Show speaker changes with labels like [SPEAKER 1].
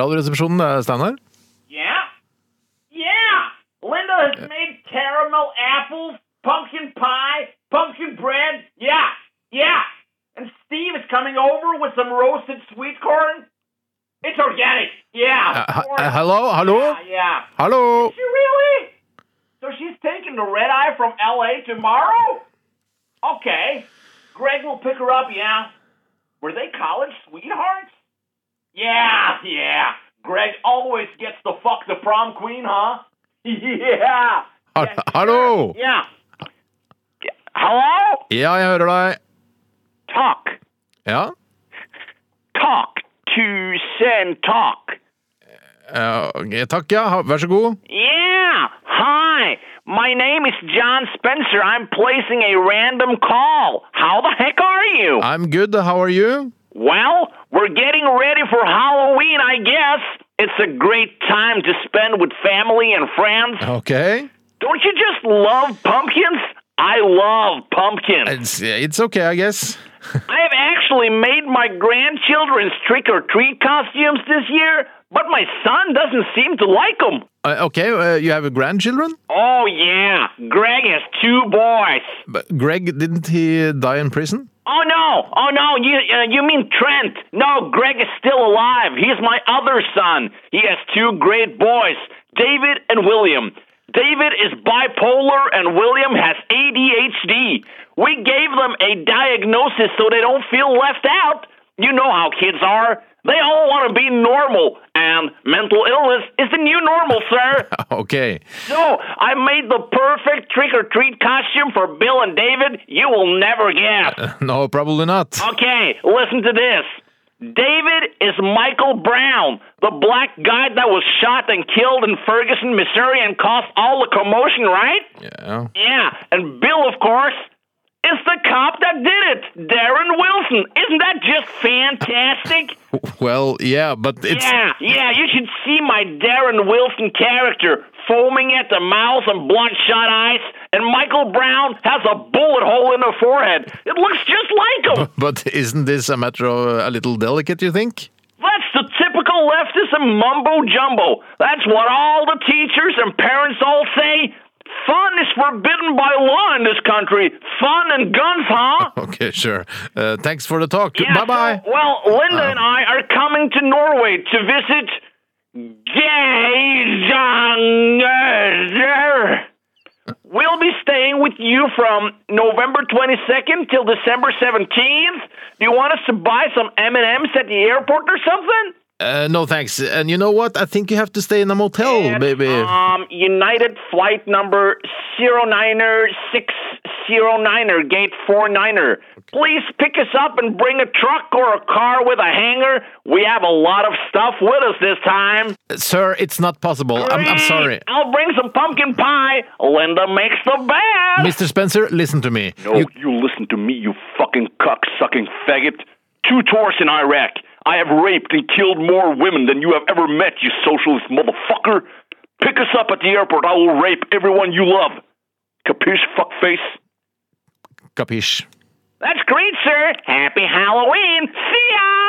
[SPEAKER 1] Radioresepsjonen, det er Steinar.
[SPEAKER 2] Yeah. Yeah. Linda has made caramel apples, pumpkin pie, pumpkin bread. Yeah. Yeah. And Steve is coming over with some roasted sweet corn. It's organic. Yeah.
[SPEAKER 1] Eh,
[SPEAKER 2] of
[SPEAKER 1] he-
[SPEAKER 2] course.
[SPEAKER 1] eh, Hallo, hallo,
[SPEAKER 2] Yeah, yeah.
[SPEAKER 1] hallo!
[SPEAKER 2] She really? So she's taking the red eye from LA tomorrow? Okay. Greg will pick her up, yeah. Were they college sweethearts? Yeah, yeah. Greg always gets to fuck the prom queen, huh? Yeah.
[SPEAKER 1] Ha- Hallo!
[SPEAKER 2] Yeah. Hello?
[SPEAKER 1] Ja, jeg hører deg.
[SPEAKER 2] Talk.
[SPEAKER 1] Ja?
[SPEAKER 2] Talk to send talk.
[SPEAKER 1] Ja, Eh, ok, takk, ja. Ha- Vær så god.
[SPEAKER 2] Yeah. Hi. My name is John Spencer. I'm placing a random call. How the heck are you?
[SPEAKER 1] I'm good, how are you?
[SPEAKER 2] well, we're getting ready for Halloween, I guess. It's a great time to spend with family and friends.
[SPEAKER 1] Ok.
[SPEAKER 2] Don't you just love pumpkins? I love pumpkins.
[SPEAKER 1] It's, it's ok, I guess.
[SPEAKER 2] I have actually made my grandchildren's trick or treat costumes this year, but my son doesn't seem to like them.
[SPEAKER 1] Eh, Ok, eh, you have grandchildren?
[SPEAKER 2] Oh, yeah. Greg has two boys.
[SPEAKER 1] But Greg, didn't he die in prison?
[SPEAKER 2] Oh no! Oh no! You uh, you mean Trent? No, Greg is still alive. He's my other son. He has two great boys, David and William. David is bipolar, and William has ADHD. We gave them a diagnosis so they don't feel left out. You know how kids are. They all want to be normal, and mental illness is the new normal, sir.
[SPEAKER 1] Ok.
[SPEAKER 2] so I made the perfect trick or treat costume for Bill and David. You will never guess.
[SPEAKER 1] No, probably not.
[SPEAKER 2] Okay, listen to this. David is Michael Brown, the black guy that was shot and killed in Ferguson, Missouri, and caused all the commotion, right?
[SPEAKER 1] Yeah.
[SPEAKER 2] Yeah, and Bill, of course, is the cop that did it, Darren Wilson. Isn't that just fantastic?
[SPEAKER 1] Well, yeah, but it's...
[SPEAKER 2] Yeah, yeah, you should see my Darren Wilson character foaming at the mouth and bloodshot eyes, and Michael Brown has a bullet hole in the forehead. It looks just like him.
[SPEAKER 1] But isn't this a matter of uh, a little delicate, you think?
[SPEAKER 2] That's the typical leftism mumbo jumbo. That's what all the teachers and parents all say. Fun is forbidden by law in this country. Fun and guns, huh?
[SPEAKER 1] Okay, sure. Uh, thanks for the talk.
[SPEAKER 2] Yeah,
[SPEAKER 1] Bye-bye.
[SPEAKER 2] so- well, Linda and I are coming to Norway to visit Geisanger. We'll be staying with you from November 22nd till December 17th. Do you want us to buy some M&Ms at the airport or something?
[SPEAKER 1] Uh, no, thanks. And you know what? I think you have to stay in a motel,
[SPEAKER 2] at,
[SPEAKER 1] Oh, baby.
[SPEAKER 2] Um, United flight number 09609er, gate 49er. Please pick us up and bring a truck or a car with a hanger. We have a lot of stuff with us this time.
[SPEAKER 1] Sir, it's not possible. I'm, I'm sorry.
[SPEAKER 2] Great. I'll bring some pumpkin pie. Linda makes the best.
[SPEAKER 1] Mr. Spencer, listen to me.
[SPEAKER 2] No, you, listen to me, you fucking cuck sucking faggot. Two tours in Iraq. I have raped and killed more women than you have ever met, you socialist motherfucker. Pick us up at the airport. I will rape everyone you love. Capiche, fuckface?
[SPEAKER 1] Capiche.
[SPEAKER 2] That's great, sir. Happy Halloween. See ya!